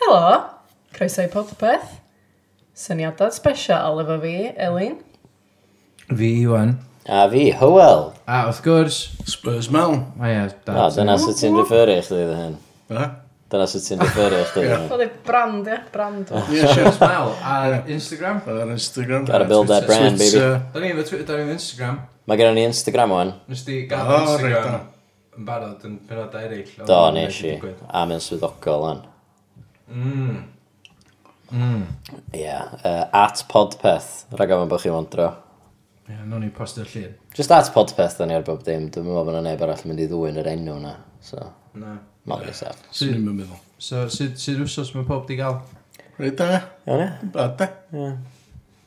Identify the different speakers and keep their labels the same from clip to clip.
Speaker 1: Helo! Croeso i Podpeth. Syniadau special efo fi, Elin.
Speaker 2: Fi Iwan.
Speaker 3: A fi, Hywel.
Speaker 2: A wrth gwrs,
Speaker 4: Spurs Mel.
Speaker 2: mae e,
Speaker 3: O,
Speaker 2: dad.
Speaker 3: dyna sy'n ti'n referio i chdi dy hyn.
Speaker 4: Be?
Speaker 3: Dyna sy'n ti'n referio i chdi dy hyn.
Speaker 1: Oedd e brand, ia? Brand.
Speaker 2: Oh.
Speaker 4: Ie, sure.
Speaker 2: Smell ar Instagram.
Speaker 4: Ar Instagram.
Speaker 3: Gotta build that brand,
Speaker 4: It's,
Speaker 3: baby.
Speaker 4: uh,
Speaker 2: Da ni efo Twitter, da ni efo Instagram.
Speaker 3: Mae gen ni Instagram o'n.
Speaker 2: Nes di gael
Speaker 4: O, reit,
Speaker 2: Instagram
Speaker 4: da.
Speaker 2: yn barod yn penodau eraill.
Speaker 3: Do, nes i. A mae'n swyddogol o'n.
Speaker 2: Mmm.
Speaker 3: Ie. yy, At Podpeth. Rhaid gofyn bod chi wondro.
Speaker 2: Ie, nhw'n i postio'r llun.
Speaker 3: Just at Podpeth da ni ar bob dim. Dwi'n meddwl bod yna neb arall yn mynd i ddwy'n yr enw na. So,
Speaker 2: Na.
Speaker 3: mae'n rhaid sef.
Speaker 4: Swn i'n mynd meddwl.
Speaker 2: So, sut sut wsos mae pob di gael?
Speaker 4: Reit da.
Speaker 3: Iawn ie?
Speaker 4: Bad da.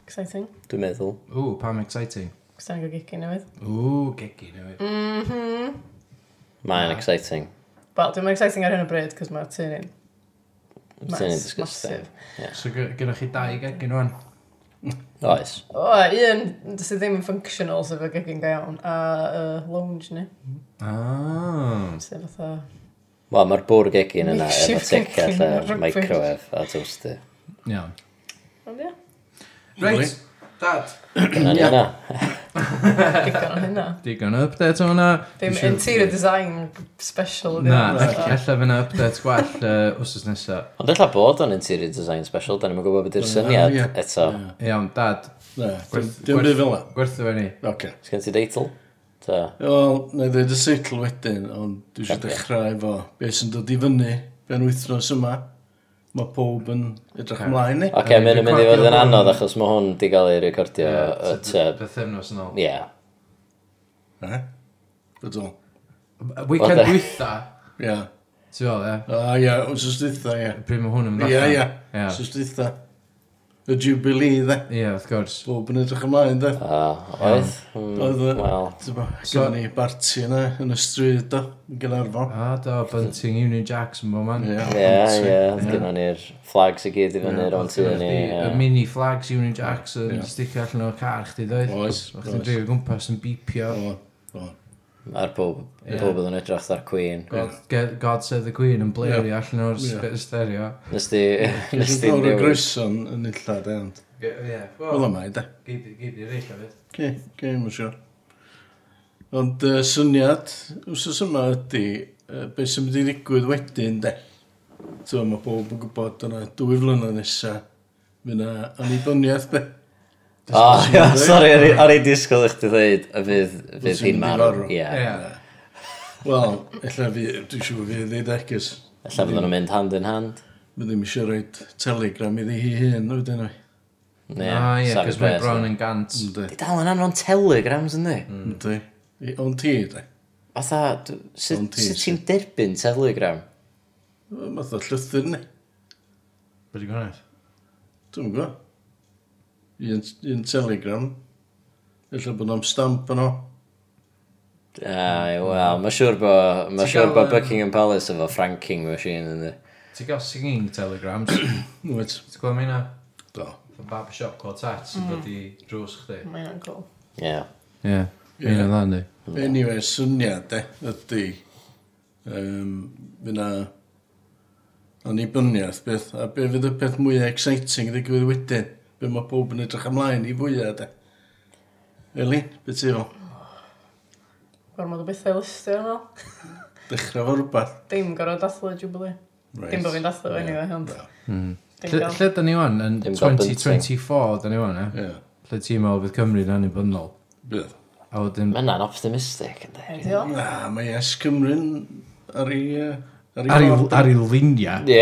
Speaker 1: Exciting.
Speaker 3: Dwi'n meddwl.
Speaker 2: Ww, pam exciting.
Speaker 1: Gwsta'n gael gigi newydd.
Speaker 2: Ww, gegi newydd.
Speaker 3: Mm.
Speaker 1: Mhm.
Speaker 3: Mae'n exciting.
Speaker 1: Wel, dwi'n exciting ar hyn o bryd, cos mae'r tyn un.
Speaker 3: It's an disgusting.
Speaker 2: So, gy- gynnwch chi dau gegi nhw'n?
Speaker 3: Oes.
Speaker 1: O, un sydd ddim yn functional sef y gigi'n go iawn, a uh, lounge ni,
Speaker 2: Ah.
Speaker 1: sef fatha...
Speaker 3: Wel, mae'r bwr gegin yna efo
Speaker 1: Makeshift
Speaker 3: ticau
Speaker 1: gegin ar
Speaker 3: lle
Speaker 1: rugby.
Speaker 3: microwave a toaster.
Speaker 2: Iawn.
Speaker 1: Ond ia,
Speaker 2: Reit, dad.
Speaker 3: Dyna ni yna.
Speaker 1: digon o hynna.
Speaker 2: Digon o update o hwnna. Dwi'n
Speaker 1: Dim
Speaker 2: siŵr-
Speaker 1: interior design special. ydi o?
Speaker 2: Na,
Speaker 1: Fatha-
Speaker 2: ella fyna update gwell uh, wrth nesaf.
Speaker 3: Ond ella bod o'n interior design special, da ni'n gwybod beth yw'r
Speaker 4: Ie,
Speaker 3: syniad
Speaker 4: ie.
Speaker 3: eto.
Speaker 4: Ie.
Speaker 2: Iawn, dad,
Speaker 4: Na, dim
Speaker 2: Gwerth-
Speaker 4: dim
Speaker 2: gwerth-
Speaker 4: byd fel na.
Speaker 2: gwerthu fe ni.
Speaker 4: Oce.
Speaker 3: Sgan ti deitl? Ta.
Speaker 4: Wel, na i ddweud y seitl wedyn, ond dwi eisiau
Speaker 3: Ocê.
Speaker 4: dechrau efo be sy'n dod i fyny ben wythnos yma. Mae pob yn edrych
Speaker 2: Ocê.
Speaker 4: ymlaen ni.
Speaker 3: Ok, mae'n mynd i fod
Speaker 2: recordio
Speaker 3: yn anodd
Speaker 2: hwn.
Speaker 3: achos mae hwn di gael ei recordio y te.
Speaker 2: Bythefnos yn ôl.
Speaker 3: Ie.
Speaker 4: Ie. Bydol.
Speaker 2: Weekend
Speaker 3: Wel, de.
Speaker 2: dwytha,
Speaker 4: Ie.
Speaker 2: ti'n fel, ie?
Speaker 4: A ie, wsos dwytha, ie.
Speaker 2: Pryd mae hwn yn
Speaker 4: Ie, ie.
Speaker 2: Ie.
Speaker 4: Wsos dwytha. Y Jubilee, dde.
Speaker 2: Ie, wrth gwrs.
Speaker 4: Bob yn edrych ymlaen, dde.
Speaker 3: A, Oedd? Mm,
Speaker 4: Oedd y...
Speaker 3: Wel,
Speaker 4: Dyma,
Speaker 2: So-
Speaker 4: gyda ni barti yna yn y stryd o, yn Gynarfon.
Speaker 2: A do, Bunting Union Jacks yn bod man.
Speaker 4: Ie,
Speaker 3: ie,
Speaker 4: barti.
Speaker 3: ie. Oedd gynnu ni'r flags i gyd i fyny ro'n tu ni.
Speaker 2: Y
Speaker 3: ie.
Speaker 2: mini flags Union Jacks yn
Speaker 4: Ie.
Speaker 2: sticio allan o'r car chdi ddoedd.
Speaker 4: Oes,
Speaker 2: O'ch ti'n
Speaker 4: oes.
Speaker 2: dreifio gwmpas yn bipio.
Speaker 4: O, o.
Speaker 3: Ar pob,
Speaker 2: Ie.
Speaker 3: pob oedd yn edrych ar Queen.
Speaker 2: God, Ge- God Save the Queen yn blario allan o'r
Speaker 4: Ie.
Speaker 2: spe- stereo.
Speaker 3: Nes di, nes
Speaker 4: Nes
Speaker 3: di
Speaker 4: ddod o
Speaker 3: newid.
Speaker 4: groeson yn illad ewn.
Speaker 2: Ie,
Speaker 4: Wel yma, da.
Speaker 2: gyd i'r eich o
Speaker 4: Ge, ge, mae'n siŵr. Ond uh, syniad, wrsos yma ydy, uh, beth sy'n mynd i ddigwydd wedyn, de. Tyfa, mae pob yn gwybod yna dwy flynedd nesaf. Fy na annibyniaeth, be.
Speaker 3: O, ie, sori, o'n i- o'n i disgwyl i chdi ddweud y fydd, fydd hi'n
Speaker 4: mynd i
Speaker 3: marw.
Speaker 4: farw.
Speaker 3: Ie.
Speaker 2: Ie.
Speaker 4: Wel, ella fi, dwi'n siŵr fi ddeud egus.
Speaker 3: Alla fydden nhw'n mynd hand in hand.
Speaker 4: Fy ddim eisiau rhoi telegram iddi hi hun, wedyn nhw.
Speaker 3: Ie,
Speaker 2: Ah, ie,
Speaker 3: savage
Speaker 2: cos mae
Speaker 3: bears,
Speaker 2: Brown yn gant.
Speaker 4: Ynddi,
Speaker 3: Di dal yn anfon telegrams yn di?
Speaker 4: ynddi. I- Ond ti, de.
Speaker 3: Fatha, dw-
Speaker 4: Ond
Speaker 3: sut
Speaker 4: ti
Speaker 3: sut
Speaker 4: sy-
Speaker 3: ti'n derbyn telegram?
Speaker 4: Math o llythyr ni.
Speaker 2: Byddi gwneud?
Speaker 4: Dwi'n gwybod. Un, un telegram. Ella bod o'n stamp yno.
Speaker 3: Ai, wel, mae siŵr bod, ma
Speaker 2: Ti'n
Speaker 3: siŵr
Speaker 2: cael,
Speaker 3: bod
Speaker 2: yym,
Speaker 3: Buckingham Palace efo franking machine yn di.
Speaker 2: Ti'n gael singing telegrams? Ti'n
Speaker 4: Wyt.
Speaker 2: gweld meina?
Speaker 4: Do.
Speaker 2: Fy barbershop quartet sy'n dod i drws chdi.
Speaker 1: Mae hynna'n cool.
Speaker 3: Ie.
Speaker 4: Ie.
Speaker 2: Ie,
Speaker 4: un o
Speaker 2: dda ni.
Speaker 4: Anyway, syniad, de, ydy. Um, Fy na annibyniaeth beth. A be fydd y peth mwyaf exciting ddigwydd wedyn. Be mae pob yn edrych ymlaen i fwyaf, de. Eli, beth ti fel?
Speaker 1: Gormod o bethau listio yna.
Speaker 4: Dechrau fo rhywbeth.
Speaker 1: Dim gorau dathlu Jubilee. Dim bod fi'n dathlu fe, anyway, ond...
Speaker 4: Na.
Speaker 2: Hmm.
Speaker 1: Dim
Speaker 2: Lle
Speaker 1: gael.
Speaker 2: lle da ni wan? Yn
Speaker 3: Dim gael
Speaker 2: 2024 da ni wan, e?
Speaker 4: Ie,
Speaker 2: Lle ti'n meddwl fydd Cymru yn annibynnol?
Speaker 4: bydd.
Speaker 2: A wedyn...
Speaker 3: Mae hynna'n optimistic, ynddi?
Speaker 1: Ti'n iawn?
Speaker 4: Na, mae Yes Cymru'n ar ei... Uh, ar
Speaker 2: Ar
Speaker 4: ei
Speaker 2: ei,
Speaker 4: ffordd.
Speaker 2: ar ei lunia.
Speaker 3: Ie,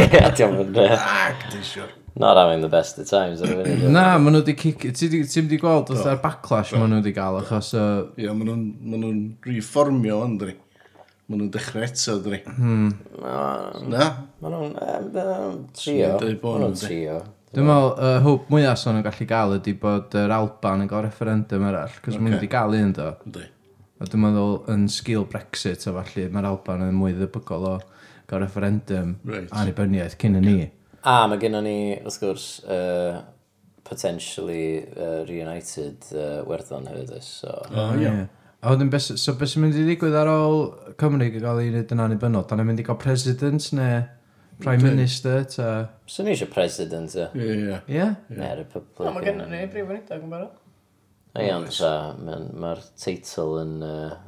Speaker 3: ie, diolch yn rhaid.
Speaker 4: Ac, di siwr.
Speaker 3: Not having the best of times ar y funud. ie.
Speaker 2: Na, maen nhw wedi cic... Ti'n di ti 'di gweld oedd ar backlash maen nhw wedi gael achos o...
Speaker 4: Ie, maen nhw'n ma nhw reformio, ynddi. Maen nhw'n dechrau eto, ynddi.
Speaker 2: Mhm.
Speaker 3: Na,
Speaker 4: Na?
Speaker 3: Mae nhw'n yym, ma' nhw'n trio.
Speaker 4: Dwi'n deud bo'
Speaker 3: Mae nhw'n
Speaker 4: nhw'n
Speaker 3: trio.
Speaker 2: Dwi'n meddwl, y hwb mwyaf son yn gallu gael ydy bod yr Alban yn gael referendum arall, cos okay. maen nhw
Speaker 4: Ocê.
Speaker 2: wedi gael un do.
Speaker 4: Ynddi.
Speaker 2: A dwi'n meddwl yn sgil Brexit a falle mae'r Alban yn mwy ddebygol o gael referendum
Speaker 4: Reit.
Speaker 2: annibyniaeth cyn y ni.
Speaker 3: A mae gennym ni, wrth gwrs, yy, potentially yy, reunited yy, werddon hefyd. oes, So,
Speaker 4: O, ie.
Speaker 2: Ie. A wedyn, beth- so beth sy'n mynd i ddigwydd ar ôl Cymru gael ei wneud yn annibynnol? Dan ni'n mynd i gael president neu Prime Minister, ta...
Speaker 3: Swn i eisiau president, e.
Speaker 4: Ie, ie.
Speaker 2: Ie? Yeah?
Speaker 3: Neu
Speaker 1: No,
Speaker 3: Republican.
Speaker 1: mae gennym ni brif wneud yn barod.
Speaker 3: Ie, ond ta, mae'n- mae'r teitl yn uh,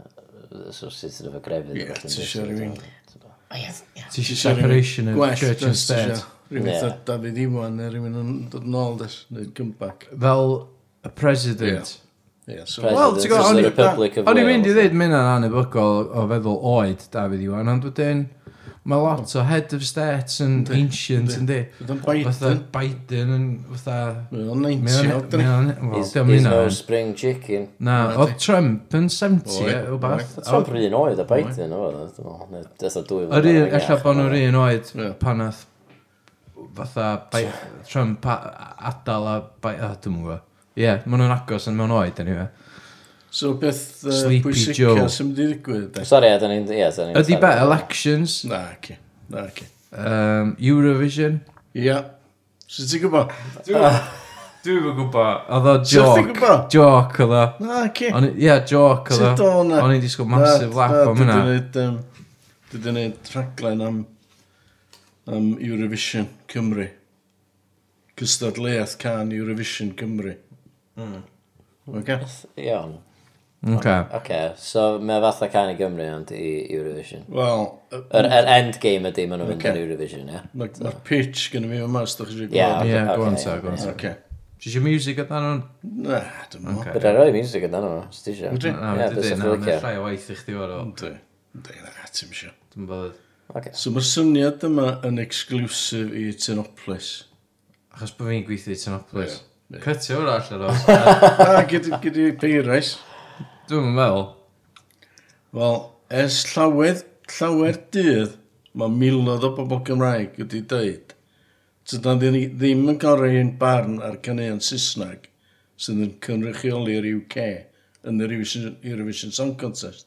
Speaker 3: associated efo grefydd.
Speaker 4: Ie,
Speaker 3: felly
Speaker 4: ti
Speaker 3: dwi'n
Speaker 4: isio
Speaker 3: siŵr,
Speaker 4: rywun-
Speaker 3: tibod.
Speaker 2: Ti eisiau
Speaker 4: Isio rywun
Speaker 2: separation of
Speaker 4: gwell,
Speaker 2: church and
Speaker 4: does,
Speaker 2: state.
Speaker 4: isio Rhywun
Speaker 3: Ie.
Speaker 4: yeah. David Iwan neu rhywun yn dod yn ôl des, neu comeback.
Speaker 2: Fel y president.
Speaker 4: Ie, so...
Speaker 3: President
Speaker 2: Wel, ti'n gwbod,
Speaker 3: of
Speaker 2: o'n
Speaker 3: the
Speaker 2: i-
Speaker 3: Republic of
Speaker 2: O'n i'n mynd i
Speaker 3: Wales.
Speaker 2: ddweud mynd yn anebygol o feddwl oed David Iwan, ond wedyn mae lot o head of states yn ancient yn di.
Speaker 4: Fydd o'n
Speaker 2: Fatha
Speaker 4: Biden.
Speaker 2: Biden yn fatha...
Speaker 4: Fydd o'n
Speaker 2: Mae
Speaker 4: 90
Speaker 2: o'n-
Speaker 4: oed.
Speaker 2: mae o'n- wel,
Speaker 3: He's
Speaker 2: diom
Speaker 3: he's
Speaker 2: hynna.
Speaker 3: no spring chicken.
Speaker 2: Na,
Speaker 4: Na,
Speaker 2: oedd
Speaker 4: di.
Speaker 2: Trump yn 70
Speaker 4: Oedd,
Speaker 2: e, o bath.
Speaker 3: Oedd Trump yr un oed a Biden, oedd o. Deth o dwy
Speaker 2: Yr un, ella bod nhw'r un oed
Speaker 4: Ie.
Speaker 2: pan oedd fatha bai, Trump a- adal a bai, a dwi'n gwybod. Ie, maen nhw'n agos yn mewn oed, anyway.
Speaker 4: So beth uh,
Speaker 2: Sleepy
Speaker 4: pwysica
Speaker 2: Joe.
Speaker 4: sy'n mynd i ddigwydd? de?
Speaker 3: Sorry, a da ni'n... Ie, da ni'n...
Speaker 2: Ydy be, elections,
Speaker 4: Na, ci. Na, ci.
Speaker 2: um, Eurovision.
Speaker 4: Ia. So ti'n gwybod?
Speaker 2: Dwi'n yn gwybod. Oedd o
Speaker 4: So chdi'n
Speaker 2: joc,
Speaker 4: gwybod?
Speaker 2: joc oedd o.
Speaker 4: Na, ci.
Speaker 2: O'n i- Ie, joc oedd o.
Speaker 4: Sut o hwnna?
Speaker 2: O'n i'n disgwyl massive laugh o hwnna.
Speaker 4: Dwi wedi gwneud rhaglen am, am Eurovision Cymru. Cystadleuaeth can Eurovision Cymru. Mm. Okay.
Speaker 3: Iawn.
Speaker 2: Oce.
Speaker 3: Oce, so mae fatha can i Gymru ond i Eurovision.
Speaker 4: Wel,
Speaker 3: Yr er, endgame ydy maen nhw'n mynd
Speaker 4: Ocê.
Speaker 3: i'r Eurovision, ie?
Speaker 4: mae'r ma pitch gynnu mi yma, os ydych chi eisiau
Speaker 3: Ie.
Speaker 2: Ie,
Speaker 3: Oce,
Speaker 2: go on
Speaker 3: oce,
Speaker 2: ta, go on ta.
Speaker 4: Okay.
Speaker 2: Ti eisiau music oedd nhw'n?
Speaker 4: Na, dim ond.
Speaker 2: Oce.
Speaker 3: Bydd ar roi music yn dan nhw, os ti eisiau.
Speaker 4: Yndri.
Speaker 2: Na, dwi'n dweud, na, mae'n llai o waith i chdi o'r o.
Speaker 4: Ynddi. Ynddi, na, ti'n siw.
Speaker 2: Dwi'n bod.
Speaker 3: Oce,
Speaker 4: So mae'r syniad yma yn exclusif i Tynoplis.
Speaker 2: Achos bod fi'n gweithio i Tynoplis.
Speaker 4: Ie, ie.
Speaker 2: Cytio o'r allan o.
Speaker 4: A, gyda gyda peirais.
Speaker 2: Dwi'n meddwl.
Speaker 4: Wel, ers llawer, llawer dydd, mae miloedd o bobl Gymraeg wedi dweud tydan ni ddim yn gorau un barn ar caneuon Saesneg sydd yn cynrychioli'r UK yn yr Eurovision, Eurovision Song Contest.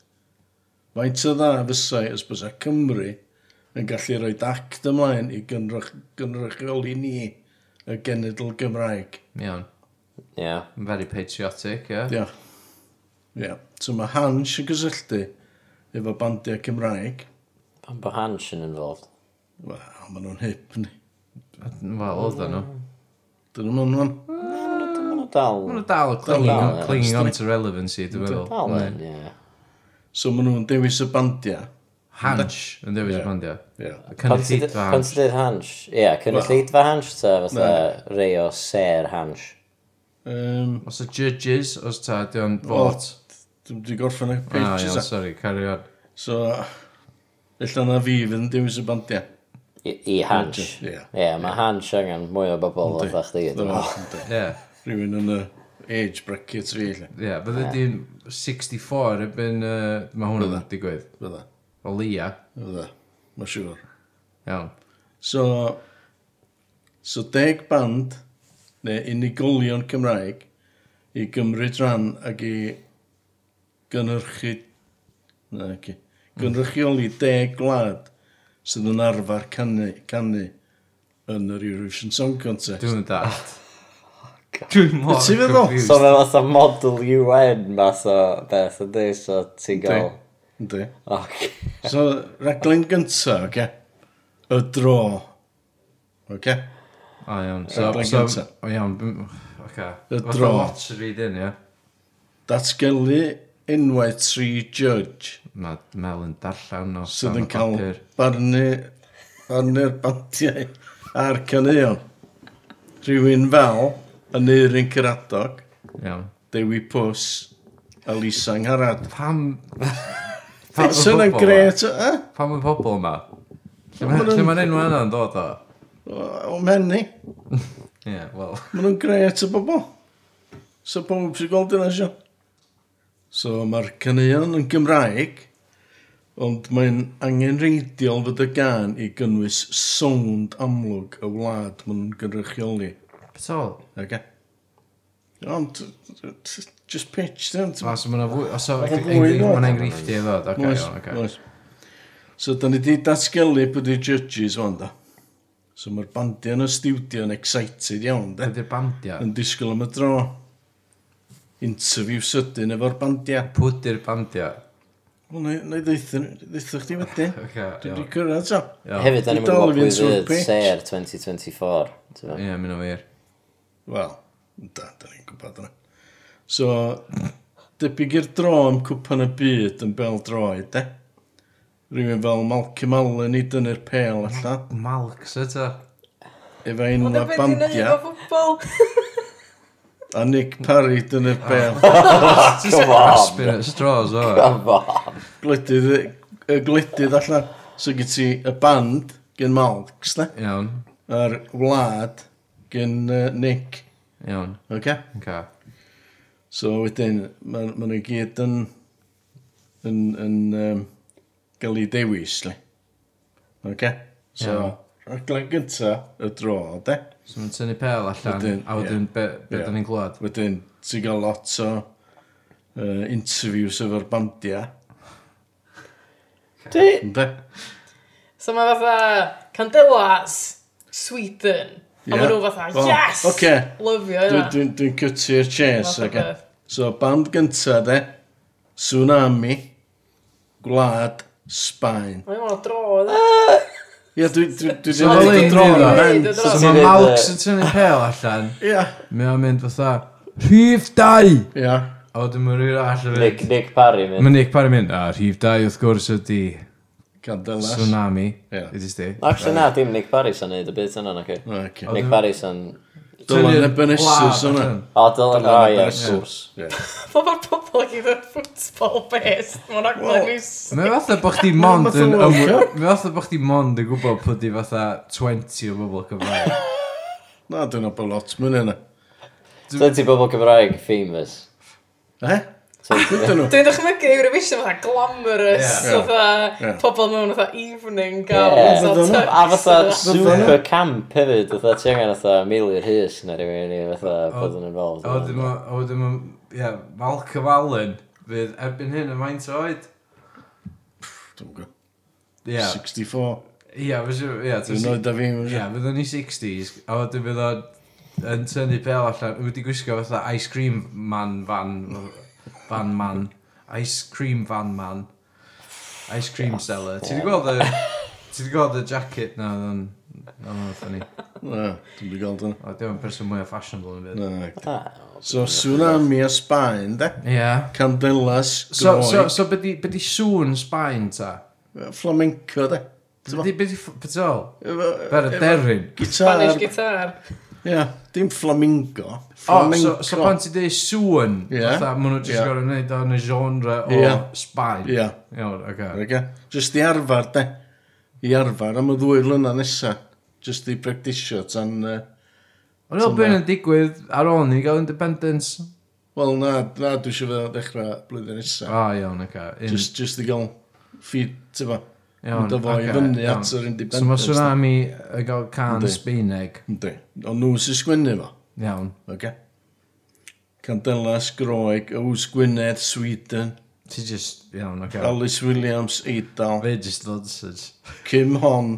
Speaker 4: Mae'n ty dda fysau os bysa Cymru yn gallu rhoi act ymlaen i gynrych, gynrychioli ni y genedl Gymraeg.
Speaker 2: Iawn.
Speaker 3: ie.
Speaker 2: Yn very patriotic, ie.
Speaker 4: Ia. Ia. So mae Hans yn gysylltu efo bandiau Cymraeg.
Speaker 3: Pan bod Hans yn involved.
Speaker 4: Wel, maen nhw'n hip ni.
Speaker 2: Wel, oedd nhw.
Speaker 3: Mm.
Speaker 4: Dyn nhw'n fan.
Speaker 3: Maen nhw dal...
Speaker 2: Maen nhw dal clinging,
Speaker 3: dal, ie.
Speaker 2: clinging on to relevancy, dwi'n
Speaker 3: Dal
Speaker 2: meddwl.
Speaker 3: yn, ie.
Speaker 4: So maen nhw'n dewis y bandiau.
Speaker 2: Hansh yn dewis y bandiau.
Speaker 4: Ia.
Speaker 3: Pan
Speaker 2: Cynnig
Speaker 3: ti
Speaker 2: llid fy hansh.
Speaker 3: dweud Hans, ie, cynnig lleid fy Hans ta fatha rei o ser Hans.
Speaker 4: Um,
Speaker 2: Os y judges, os ta, dwi'n fod.
Speaker 4: Dwi'n wedi gorffen y
Speaker 2: Ah,
Speaker 4: pages
Speaker 2: iawn,
Speaker 4: a.
Speaker 2: sorry, carry on.
Speaker 4: So, illa na fi fydd yn dewis y bandiau.
Speaker 3: I, i Hans.
Speaker 4: Ie.
Speaker 3: Ie, mae Hans angen mwy o bobl oedd eich di.
Speaker 4: Dyna fo, yndi.
Speaker 2: Ie,
Speaker 4: Rhywun yn y age bracket fi, lle.
Speaker 2: ie. Fydde di'n 64 ebyn, mae hwn yn digwydd.
Speaker 4: Fydda.
Speaker 2: O lia.
Speaker 4: Fydda. Mae e. siŵr.
Speaker 2: Iawn.
Speaker 4: So, so deg band, neu unigolion Cymraeg, i gymryd rhan ac i gynhyrchu... Na, ci. Gynrychioli deg gwlad sydd yn arfer canu, canu yn yr Eurovision Song Contest.
Speaker 2: Dwi'n dallt. Dwi'n mor
Speaker 4: Ti feddwl?
Speaker 2: confused.
Speaker 3: So mae fatha model UN math o beth ydy, so ti'n gael...
Speaker 4: Yndi.
Speaker 3: Oce.
Speaker 4: So, raglen gyntaf, oce? Y dro. Oce?
Speaker 2: O iawn,
Speaker 4: Rhaglen
Speaker 2: so, so,
Speaker 4: gynta.
Speaker 2: o iawn, bym- oce.
Speaker 4: Y
Speaker 2: Fath o
Speaker 4: dro.
Speaker 2: lottery dyn, ie.
Speaker 4: Datgelu enwau tri judge
Speaker 2: Ma Mel yn darllen o
Speaker 4: sydd
Speaker 2: stan o
Speaker 4: yn cael
Speaker 2: papur.
Speaker 4: barnu, barnu'r bantiau a'r caneuon. Rhywun fel Aneurin Cyradog,
Speaker 2: Iawn.
Speaker 4: Dewi Pws, a Lisa Ngharad.
Speaker 2: Pam... Pam y
Speaker 4: Fysa yna'n
Speaker 2: pobol
Speaker 4: gret, eh?
Speaker 2: yma? Pam y pobol yma? Lle
Speaker 4: Ma'
Speaker 2: ma-
Speaker 4: nhw'n-
Speaker 2: lle mae'n enw yna'n dod o?
Speaker 4: O menni.
Speaker 2: Ie, wel...
Speaker 4: Maen nhw'n gret o bobl. So pob sy'n gweld yna sio. So mae'r caneuon yn Gymraeg, ond mae'n angenreidiol fod y gan i gynnwys sownd amlwg y wlad maen nhw'n gynrychioli.
Speaker 2: Beth o?
Speaker 4: Okay. Ond, t- t- just pitch, dyn.
Speaker 2: Ma, so ma'na fwy... Os o,
Speaker 4: Ma' fwy i ddod.
Speaker 2: mae'n enghreiffti i ddod. Oce, iawn, oce.
Speaker 4: So, da ni di datgelu bod y judges fan da. So, mae'r bandiau yn y studio yn excited iawn, da.
Speaker 2: Ydy'r bandiau?
Speaker 4: Yn disgwyl am y dro. Interview sydyn efo'r bandiau.
Speaker 2: Pwdy'r bandiau?
Speaker 4: Wel, na na i ddeitha chdi wedyn.
Speaker 2: Oce,
Speaker 4: Dwi wedi
Speaker 2: iawn.
Speaker 4: cyrraedd so.
Speaker 2: Iawn.
Speaker 3: Hefyd, da ni'n
Speaker 4: Dal
Speaker 3: gwybod pwy
Speaker 4: fi'n sort
Speaker 3: fydd
Speaker 4: bitch.
Speaker 3: ser 2024. ti'n gwbod?
Speaker 2: Ie, mynd o wir.
Speaker 4: Wel, da, da ni'n gwybod yna. So, debyg i'r dro am cwpan y byd yn bel droed, de? Rhywun fel Malcolm Allen i dynnu'r pel allan,
Speaker 2: Malc, sy ta?
Speaker 4: efo
Speaker 1: Ond y
Speaker 4: unla
Speaker 1: beth i'n neud
Speaker 4: bandia,
Speaker 1: o ffwbl?
Speaker 4: a Nick Parry dynnu'r pel.
Speaker 1: Ah.
Speaker 3: Come on!
Speaker 2: Spin at straws, o.
Speaker 3: Come on!
Speaker 4: Gledydd, y gledydd allan. So, gyd ti y band gen Malks, de?
Speaker 2: Iawn,
Speaker 4: A'r wlad gen uh, Nick.
Speaker 2: iawn.
Speaker 4: Oce? Okay?
Speaker 2: Oce.
Speaker 4: So wedyn, mae ma nhw gyd yn, yn, yn um, gael ei dewis, le. OK? So,
Speaker 2: Iawn.
Speaker 4: rhaglen gynta, y dro, de.
Speaker 2: So mae'n tynnu pel allan,
Speaker 4: Wedyn,
Speaker 2: a wedyn be be
Speaker 4: Ie.
Speaker 2: da ni'n glwad?
Speaker 4: Wedyn, ti'n gael lot o uh, interviews efo'r bandia,
Speaker 3: Dwi...
Speaker 4: ynddo?
Speaker 1: So mae fatha Candelas, Sweden. A
Speaker 4: Ie.
Speaker 1: maen nhw fatha,
Speaker 4: Wel,
Speaker 1: yes!
Speaker 4: ocê.
Speaker 1: Lyfio
Speaker 4: Dwi'n
Speaker 1: yna.
Speaker 4: dwi, dwi cytu'r chance,
Speaker 1: Fath o
Speaker 4: OK?
Speaker 1: beth.
Speaker 4: So, band gynta, de. Tsunami. Gwlad. Sbaen.
Speaker 1: Mae'n mynd o dro, dda.
Speaker 4: Ie, dwi dwi'n
Speaker 2: So ma'
Speaker 4: dweud y
Speaker 2: Lee
Speaker 4: dro
Speaker 2: yn
Speaker 4: yna.
Speaker 1: neud o.
Speaker 4: Ie.
Speaker 1: So
Speaker 2: So
Speaker 1: ti
Speaker 2: mae
Speaker 3: fydd,
Speaker 2: Malc
Speaker 3: yy,
Speaker 2: sy'n tynnu pel allan,
Speaker 4: Ie.
Speaker 2: mae o'n mynd fatha, rhif dau!
Speaker 4: Ie.
Speaker 2: A wedyn mae'n rhywun all
Speaker 3: Nick, Nick Parry, mynd.
Speaker 2: Mae Nick Parry mynd, a rhif dau wrth gwrs ydi
Speaker 4: Candelas.
Speaker 2: tsunami,
Speaker 4: Ie.
Speaker 2: ydy sti.
Speaker 3: Actually, na, dim Nick Parry sy'n neud y byd yna, nac i.
Speaker 4: OK.
Speaker 3: Nick Parry sy'n...
Speaker 4: Dylan Ebenesis yna.
Speaker 3: O, Dylan, o, ie,
Speaker 4: Ebenesis.
Speaker 3: of course.
Speaker 1: Mae mae'r pobl gyd yn football based. Mae'n aglen i s-
Speaker 2: Mae fatha bo chdi mond
Speaker 4: Ma'n
Speaker 2: yn...
Speaker 4: fatha World Cup.
Speaker 2: Mae fatha bo chdi mond yn gwybod pwy di fatha 20 o bobl Cymraeg.
Speaker 4: Na, dwi'n obo lot mwyn yna.
Speaker 3: 20 bobl Cymraeg, famous.
Speaker 4: E? Dwi'n nhw.
Speaker 1: Dwi'n dychmygu Eurovision fatha glamorous,
Speaker 2: Ie.
Speaker 1: fatha
Speaker 4: Ie.
Speaker 1: pobl mewn fatha evening
Speaker 3: Ie.
Speaker 1: gowns
Speaker 4: Fyddan nhw.
Speaker 3: A fatha
Speaker 1: tux.
Speaker 4: Fatha nhw.
Speaker 3: super camp hefyd, fatha ti angen fatha Mili'r Hys na rhywun i fatha bod yn involved.
Speaker 2: A wedyn ma- a wedyn ma... Ie, Malcolm Allen fydd erbyn hyn yn maint oed.
Speaker 4: Dwi'n gwybod.
Speaker 2: Ie,
Speaker 4: 64.
Speaker 2: ie, fysi- ie,
Speaker 4: Dwi'n
Speaker 2: ti'n
Speaker 4: oed a fi.
Speaker 2: Ie, fydd o'n i 60s, a wedyn fydd o'n yn tynnu pel allan, wedi gwisgo fatha ice cream man van, van man, ice cream van man, ice cream seller. Ti wedi gweld y, ti wedi gweld y jacket na, oedd o'n, oedd o'n ffynnu.
Speaker 4: Na, dwi'n di gael dyna.
Speaker 2: O, dim yn person mwy o fashionable yn y byd.
Speaker 4: Na, oce. So, tsunami a Sbaen, de?
Speaker 2: Ie.
Speaker 4: Candelas,
Speaker 2: So, so,
Speaker 4: groi.
Speaker 2: so, byddi, byddi sŵn Sbaen ta?
Speaker 4: Flamenco, de?
Speaker 2: Byddi, byddi, byddi, byddi,
Speaker 4: Efo-
Speaker 2: byddi, derin.
Speaker 1: Spanish
Speaker 4: Gitar.
Speaker 1: guitar.
Speaker 4: Ie, dim flamingo.
Speaker 2: O, so, so
Speaker 4: Flamenco.
Speaker 2: pan ti dweud sŵn,
Speaker 4: Ie.
Speaker 2: fatha, maen nhw jyst
Speaker 4: Ie.
Speaker 2: yeah. gorau gwneud o'n y genre o
Speaker 4: Ie.
Speaker 2: Sbaen.
Speaker 4: Ie.
Speaker 2: Iawn, oce.
Speaker 4: Oce. Just i arfer, de? I arfer am y ddwy lyna nesa. Just i practisio tan... yy,
Speaker 2: Ond oedd byn yn digwydd ar ôl ni gael independence.
Speaker 4: Wel, na, na, dwi eisiau fe ddechrau blwyddyn nesa.
Speaker 2: O, iawn, oce. Un-
Speaker 4: Just, just i gael ffid, ti fo.
Speaker 2: iawn,
Speaker 4: Mynd o fo i
Speaker 2: ocê,
Speaker 4: fyny
Speaker 2: iawn.
Speaker 4: at yr independence.
Speaker 2: So mae tsunami yn gael can
Speaker 4: Yndi.
Speaker 2: Sbeineg.
Speaker 4: Yndi. O nhw sy'n sgwynnu fo.
Speaker 2: Iawn.
Speaker 4: Oce. Candelas, Groeg, Ows Gwynedd, Sweden,
Speaker 2: Ti just, iawn, oce.
Speaker 4: Alice Williams, Eidal,
Speaker 2: Fe just nonsense.
Speaker 4: Kim Hon,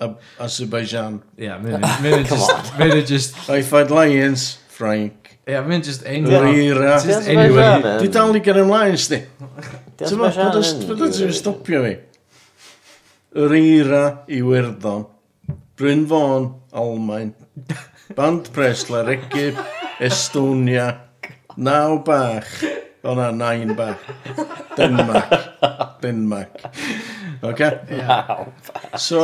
Speaker 4: a Azerbaijan.
Speaker 2: Ie, mynd just, mynd just,
Speaker 4: Eiffed Lions, Frank.
Speaker 2: ie, mynd just enw.
Speaker 4: Rira.
Speaker 2: Ti jyst
Speaker 3: Ti jyst
Speaker 2: enw.
Speaker 3: fel-
Speaker 4: Di dal i gan ymlaen, sti.
Speaker 3: Diolch
Speaker 4: Ti'n
Speaker 3: yn
Speaker 4: fawr, bod
Speaker 3: fawr iawn,
Speaker 4: ysbryd
Speaker 3: Ewyr.
Speaker 4: ti'n stopio fi. Rira i Werddon, Bryn Fawn, Almain, Band Presler, Egypt, Estonia, Naw Bach, o na, Nain Bach, Denmark, Denmark. Oce?
Speaker 3: Wow.
Speaker 4: So,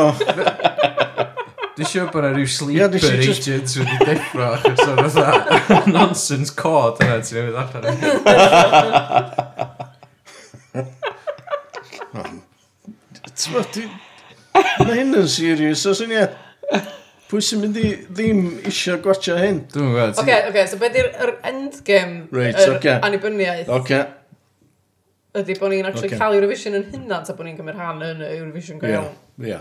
Speaker 2: Dwi'n siŵr bod na rhyw
Speaker 4: Ie, dwi
Speaker 2: sleeper
Speaker 4: isio jyst-
Speaker 2: agents wedi deffro achos o'n fatha nonsense cod yna ti'n ei wneud allan.
Speaker 4: ti'n fawr, di... Mae hyn yn serious, os yn ie. Pwy sy'n mynd i ddim eisiau gwatio hyn?
Speaker 2: Dwi'n gwybod.
Speaker 1: Oce, oce, so beth yw'r endgame
Speaker 4: Reit,
Speaker 1: yr
Speaker 4: ocê.
Speaker 1: annibyniaeth
Speaker 4: Oce,
Speaker 1: ydy bod ni'n actually
Speaker 4: Ocê.
Speaker 1: cael Eurovision yn hynna ta bod ni'n cymryd rhan yn y Eurovision go
Speaker 4: ie,
Speaker 1: iawn.
Speaker 4: ie.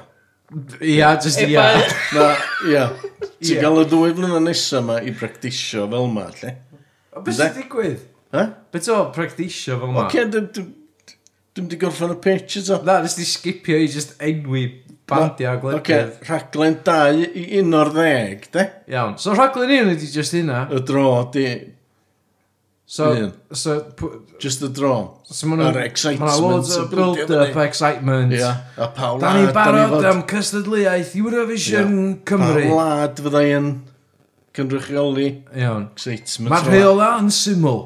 Speaker 2: Ia, just
Speaker 1: Efo-
Speaker 2: ia.
Speaker 4: Na, ie.
Speaker 2: Ie.
Speaker 4: Ti'n gael y ddwy flynedd nesaf yma i bractisio fel yma, lle.
Speaker 2: Beth sy'n digwydd?
Speaker 4: Ha?
Speaker 2: Beth o, practisio fel ma?
Speaker 4: Oce, dwi'n... Dwi'n di gorffan y pitch eto.
Speaker 2: Na, nes di skipio i just enwi bandiau a
Speaker 4: Oce,
Speaker 2: gwledydd.
Speaker 4: rhaglen 2 i un o'r ddeg, de?
Speaker 2: Iawn, so rhaglen un ydi just hynna.
Speaker 4: Y dro di...
Speaker 2: So,
Speaker 4: Ie.
Speaker 2: so, pw-
Speaker 4: Just the draw.
Speaker 2: so ma' nhw-
Speaker 4: Yr excitement
Speaker 2: ma' 'na loads o
Speaker 4: sy'n blydio
Speaker 2: build-up
Speaker 4: fyny.
Speaker 2: excitement.
Speaker 4: Ia. A pa wlad...
Speaker 2: Da ni'n barod
Speaker 4: fod-
Speaker 2: am cystadleuaeth Eurovision Cymru.
Speaker 4: Pa wlad fyddai yn cynrychioli
Speaker 2: Iawn.
Speaker 4: excitement.
Speaker 2: Mae'r rheola yn syml.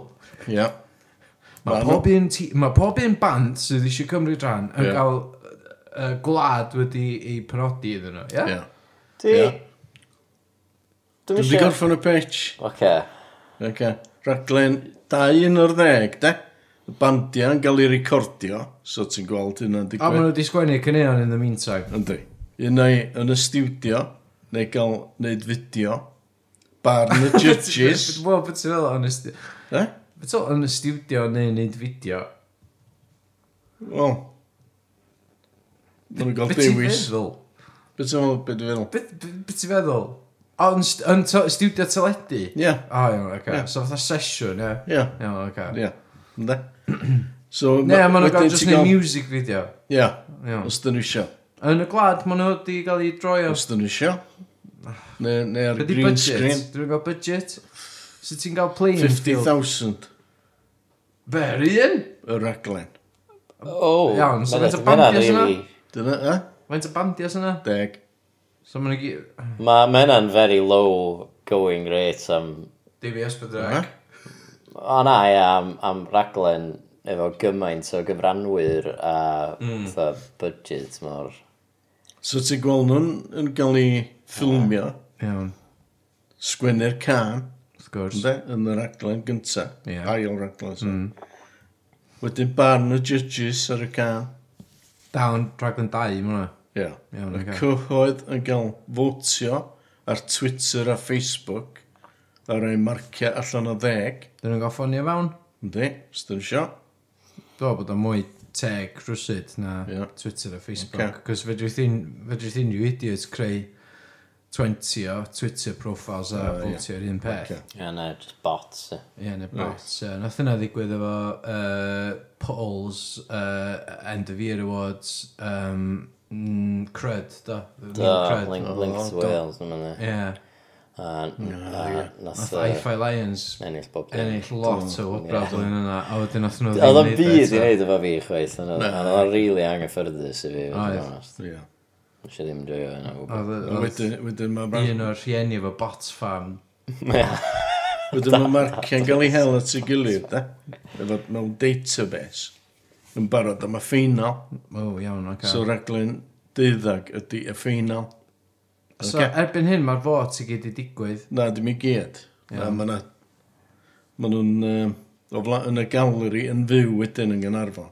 Speaker 4: Ia.
Speaker 2: Mae
Speaker 4: Ma'
Speaker 2: pob un ti- ma' pob un band sydd eisiau cymryd rhan yn
Speaker 4: Ie.
Speaker 2: cael yy, gwlad wedi ei penodi iddyn nhw, ie?
Speaker 4: Ia.
Speaker 3: Di...
Speaker 4: Ie.
Speaker 3: Dwi'n
Speaker 4: Dwi wedi
Speaker 3: eisiau...
Speaker 4: gorffen y pitch.
Speaker 3: Oce.
Speaker 4: Okay. Raglen 2 yn o'r ddeg, de? Y bandiau yn cael ei recordio, so ti'n gweld hynna'n
Speaker 2: A maen
Speaker 4: digwydd.
Speaker 2: nhw wedi sgwennu cynnion in the meantime.
Speaker 4: Yndi. Un o'i yn y studio, neu gael neud fideo, barn y judges.
Speaker 2: Wel, beth sy'n fel yn y stu-
Speaker 4: De?
Speaker 2: beth sy'n fel yn y studio neu neud fideo?
Speaker 4: Wel. Mae'n gael
Speaker 2: Beth ti'n
Speaker 4: dewis.
Speaker 2: feddwl?
Speaker 4: Beth ti'n meddwl, beth ti'n feddwl?
Speaker 2: Beth beth- beth ti'n feddwl? O, Yn st- yn to- studio teledu?
Speaker 4: Ie,
Speaker 2: O, iawn, oce.
Speaker 4: Ie.
Speaker 2: So fatha sesiwn, ie?
Speaker 4: ie,
Speaker 2: Iawn, oce.
Speaker 4: ie. Ynddi? So,
Speaker 2: Ne, maen nhw'n
Speaker 4: wedyn
Speaker 2: gael just
Speaker 4: ti'n
Speaker 2: neu
Speaker 4: gael-
Speaker 2: music video.
Speaker 4: Ie,
Speaker 2: Iawn.
Speaker 4: os dyn nhw isio.
Speaker 2: Yn y gwlad, maen nhw wedi cael ei droi o
Speaker 4: Os dyn nhw isio. Neu neu ar
Speaker 2: Ah. Be
Speaker 4: y
Speaker 2: di
Speaker 4: green screen.
Speaker 2: budget? Dwi'n gael budget? So ti'n gael plane?
Speaker 4: 50,000
Speaker 2: Be, yr un?
Speaker 4: y raglen.
Speaker 3: O,
Speaker 2: Iawn, so faint o
Speaker 3: hynna'n
Speaker 2: bandiau sy'n
Speaker 3: really...
Speaker 4: Dyna, e?
Speaker 2: Faint o bandiau sy'n yna?
Speaker 4: Deg.
Speaker 2: So mae'n gyd...
Speaker 3: Ma' ma' hynna'n very low going rate am...
Speaker 2: DBS
Speaker 4: Aha.
Speaker 2: bydrag.
Speaker 3: O na, ia, am, am raglen efo gymaint o gyfranwyr a fatha budget mor...
Speaker 4: So ti'n gweld nhw'n yn cael ei ffilmio,
Speaker 2: Iawn,
Speaker 4: sgwennu'r can,
Speaker 2: wrth gwrs.
Speaker 4: ynde, yn yr aglen gynta,
Speaker 2: Ie. Mm.
Speaker 4: ail raglen. So. Wedyn barn y judges ar y can.
Speaker 2: Down, Dragon 2, mae'n yna.
Speaker 4: Ia.
Speaker 2: Iawn,
Speaker 4: Y
Speaker 2: ocê.
Speaker 4: cyhoedd yn cael fotio ar Twitter a Facebook a roi marciau allan o ddeg.
Speaker 2: Dyn nhw'n gael ffonio mewn?
Speaker 4: Ynddi, os dyn nhw isio.
Speaker 2: Do, bod o'n mwy teg rwysyd na
Speaker 4: Ie.
Speaker 2: Twitter a Facebook.
Speaker 4: Ocê.
Speaker 2: Cos fedrith unrhyw idiot creu 20 o Twitter profiles a
Speaker 4: O, ie.
Speaker 2: fotio yr un peth.
Speaker 4: Ocê.
Speaker 3: Ia, na, just bots. ia.
Speaker 2: Ie, neu bots. Ie, Nath yna ddigwydd efo uh, polls, uh, end of year awards, um, mm, crud, do.
Speaker 3: Do,
Speaker 2: Crud.
Speaker 3: link, link to
Speaker 2: Do.
Speaker 3: Wales, dwi'n mynd.
Speaker 2: Ie,
Speaker 3: A a- nath
Speaker 2: nath
Speaker 3: yy,
Speaker 2: Hi-Fi Lions
Speaker 3: ennill bob dim.
Speaker 2: ennill lot o wobrod o'n yna, a wedyn nath nhw
Speaker 3: Oedd o'n
Speaker 2: neud e,
Speaker 3: byd i
Speaker 2: eto.
Speaker 3: wneud efo fi chweith, ond oedd- ond oedd o'n rili anghyffyrddus i fi, fod yn
Speaker 2: Oedd.
Speaker 3: onest.
Speaker 4: Ia.
Speaker 3: Nes i ddim joio yna o gwbl.
Speaker 2: Oedd-
Speaker 4: A Wedyn wedyn mae
Speaker 2: e- Oedd
Speaker 4: mar-
Speaker 2: un o'r rhieni efo bots farm.
Speaker 4: wedyn ma' marciau'n cael ei hel at ei gilydd, de. Efo mewn database. Yn barod am y ffeinal.
Speaker 2: O, iawn, oce.
Speaker 4: So raglen deuddag ydy y ffeinal.
Speaker 2: So,
Speaker 4: Ocê.
Speaker 2: erbyn hyn, mae'r fot i gyd i digwydd.
Speaker 4: Na, dim i gyd. Na, mae na... Mae nhw'n... yym, o fla- yn y galeri yn fyw wedyn yn Gynarfon.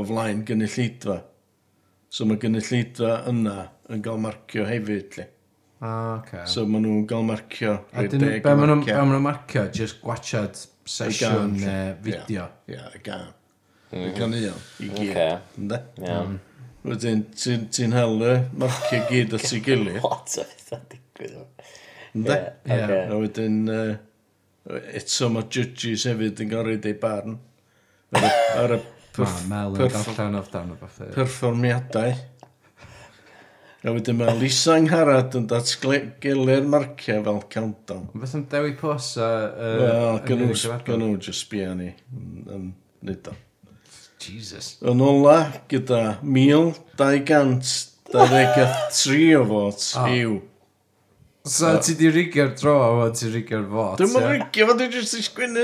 Speaker 4: O flaen gynulleidfa. So mae gynulleidfa yna yn cael marcio hefyd, li.
Speaker 2: Ah, oce.
Speaker 4: So mae nhw'n cael marcio.
Speaker 2: A
Speaker 4: rhoi
Speaker 2: dyn nhw,
Speaker 4: deg
Speaker 2: be
Speaker 4: o
Speaker 2: maen nhw'n
Speaker 4: marciau.
Speaker 2: be ma' nhw'n marcio, just gwachad sesiwn
Speaker 4: gan,
Speaker 2: neu
Speaker 4: ie.
Speaker 2: fideo.
Speaker 4: Ie, y gan. Y ganeuon. I gyd.
Speaker 3: Ocê.
Speaker 4: Ynde?
Speaker 3: Iawn.
Speaker 4: Wedyn, ti'n ti'n hel y marcio gyd at ei gilydd.
Speaker 3: Lot o bethau digwydd.
Speaker 4: Ynde?
Speaker 2: Ie.
Speaker 3: Ie,
Speaker 4: A wedyn, uh, eto mae judges hefyd yn gorau ei barn. Ar y, ar y
Speaker 2: Ma,
Speaker 4: perf
Speaker 2: Mel yn
Speaker 4: perf
Speaker 2: darllen off dan o bethau.
Speaker 4: perfformiadau. A wedyn mae Lisa Ngharad yn datgelu'r marciau fel countdown.
Speaker 2: Beth am Dewi Pws a... yy,
Speaker 4: Wel,
Speaker 2: yn
Speaker 4: gynnu
Speaker 2: y gyfarfod?
Speaker 4: just sbio ni yn- yn nid o.
Speaker 2: Jesus.
Speaker 4: Yn ola, gyda 1223 o fot
Speaker 2: Ah.
Speaker 4: i'w.
Speaker 2: So ti di rigio'r dro a wan ti'n rigio'r fot.
Speaker 4: Dwi'n mynd
Speaker 2: ie?
Speaker 4: rigio fo, dwi'n jyst i sgwynnu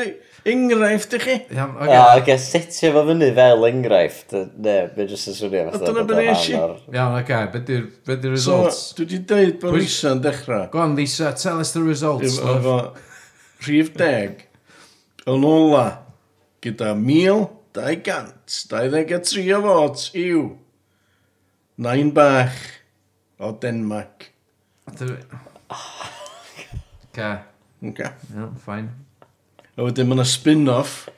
Speaker 4: enghraifft i chi.
Speaker 2: Iawn,
Speaker 3: A
Speaker 2: oce.
Speaker 3: oce, setio fo fyny fel enghraifft. yy, Ne, mae jyst yn swnio fatha.
Speaker 4: dyna
Speaker 3: bod
Speaker 4: be
Speaker 3: o'n
Speaker 4: nes i.
Speaker 3: rhan o'r-
Speaker 2: Iawn, oce. Be di'r- be di'r
Speaker 4: So,
Speaker 2: results?
Speaker 4: dwi wedi dweud bod
Speaker 2: Pwy-
Speaker 4: Lisa yn dechrau.
Speaker 2: Go on, Lisa, tell us the results.
Speaker 4: Efo
Speaker 2: love.
Speaker 4: efo rhif deg, yn ola, gyda 1223 o fot i'w. Nain bach o Denmark.
Speaker 2: Dwi- Oce.
Speaker 4: Okay.
Speaker 2: Iawn, fine.
Speaker 4: A wedyn mae yna spin-off.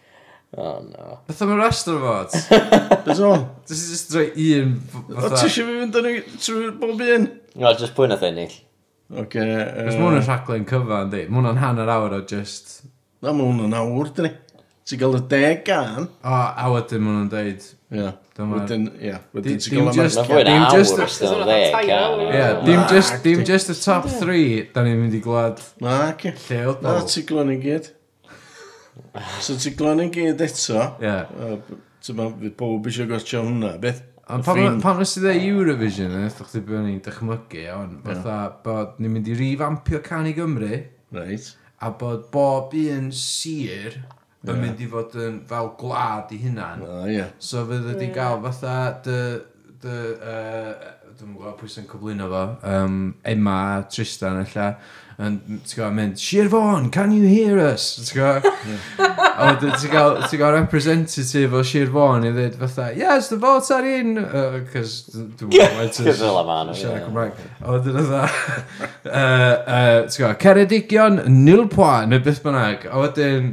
Speaker 3: O, no.
Speaker 2: Beth am y rest o'r fot?
Speaker 4: Beth o?
Speaker 2: Dys i just droi un... f-
Speaker 4: O, ti
Speaker 2: fatha-
Speaker 4: eisiau fi fynd yn ei trwy bob un?
Speaker 3: No, jyst pwy nath ennill.
Speaker 4: Oce. yy,
Speaker 2: Cos mae hwnna'n rhaglen cyfa, yndi? Mae hwnna'n hanner awr o just...
Speaker 4: Na, mae hwnna'n awr, dyn ni. Ti'n gael y deg gan.
Speaker 2: O, a wedyn mae hwnna'n deud...
Speaker 4: Ie.
Speaker 2: Dyma-
Speaker 4: Wedyn, ie. Wedyn
Speaker 2: Di-
Speaker 4: ti'n gael
Speaker 2: dim
Speaker 4: y
Speaker 2: just-
Speaker 3: Na
Speaker 4: marciau.
Speaker 3: fwy na
Speaker 2: Dim
Speaker 3: awr
Speaker 2: jyst-
Speaker 3: os dyn
Speaker 1: Oes
Speaker 3: nhw'n
Speaker 1: hwnna
Speaker 3: ddeg.
Speaker 1: tair
Speaker 3: gan,
Speaker 1: awr?
Speaker 3: ie.
Speaker 2: Ie,
Speaker 1: Ie,
Speaker 2: dim
Speaker 4: na,
Speaker 2: just, dim
Speaker 4: dim-
Speaker 2: just y top 3, da ni'n mynd i glwad
Speaker 4: Na, ce.
Speaker 2: lleol.
Speaker 4: Na, ti'n gael yn i gyd. So ti glon yn gyd eto.
Speaker 2: Ie.
Speaker 4: A b- Ti'n ma, fydd pob eisiau gosio hwnna, beth?
Speaker 2: Ond
Speaker 4: Y ffrind-
Speaker 2: pan pan nes i dde Eurovision, yn eithaf chdi bod ni'n dychmygu, ond fatha bod ni'n mynd i rifampio can i Gymru,
Speaker 4: Reit.
Speaker 2: a bod bob un sir yn mynd i fod yn fel gwlad i hunan.
Speaker 4: O, ie.
Speaker 2: So fydd ydi gael fatha dy... dy uh, dwi'n gwybod pwy sy'n cyflwyno fo, um, Emma a Tristan ella, yn, ti'n gwybod, mynd, Sir Fôn, can you hear us? Ti'n gwybod? A wedyn ti'n gael, ti'n gael representative o Sir Fôn i ddweud fatha, yes, the votes are in, because dwi'n gwybod,
Speaker 3: Cos fel yma, no, ie.
Speaker 2: Siarad Cymraeg. A wedyn oedd Ti'n gwybod, Ceredigion Nilpoa, neu beth bynnag. A wedyn...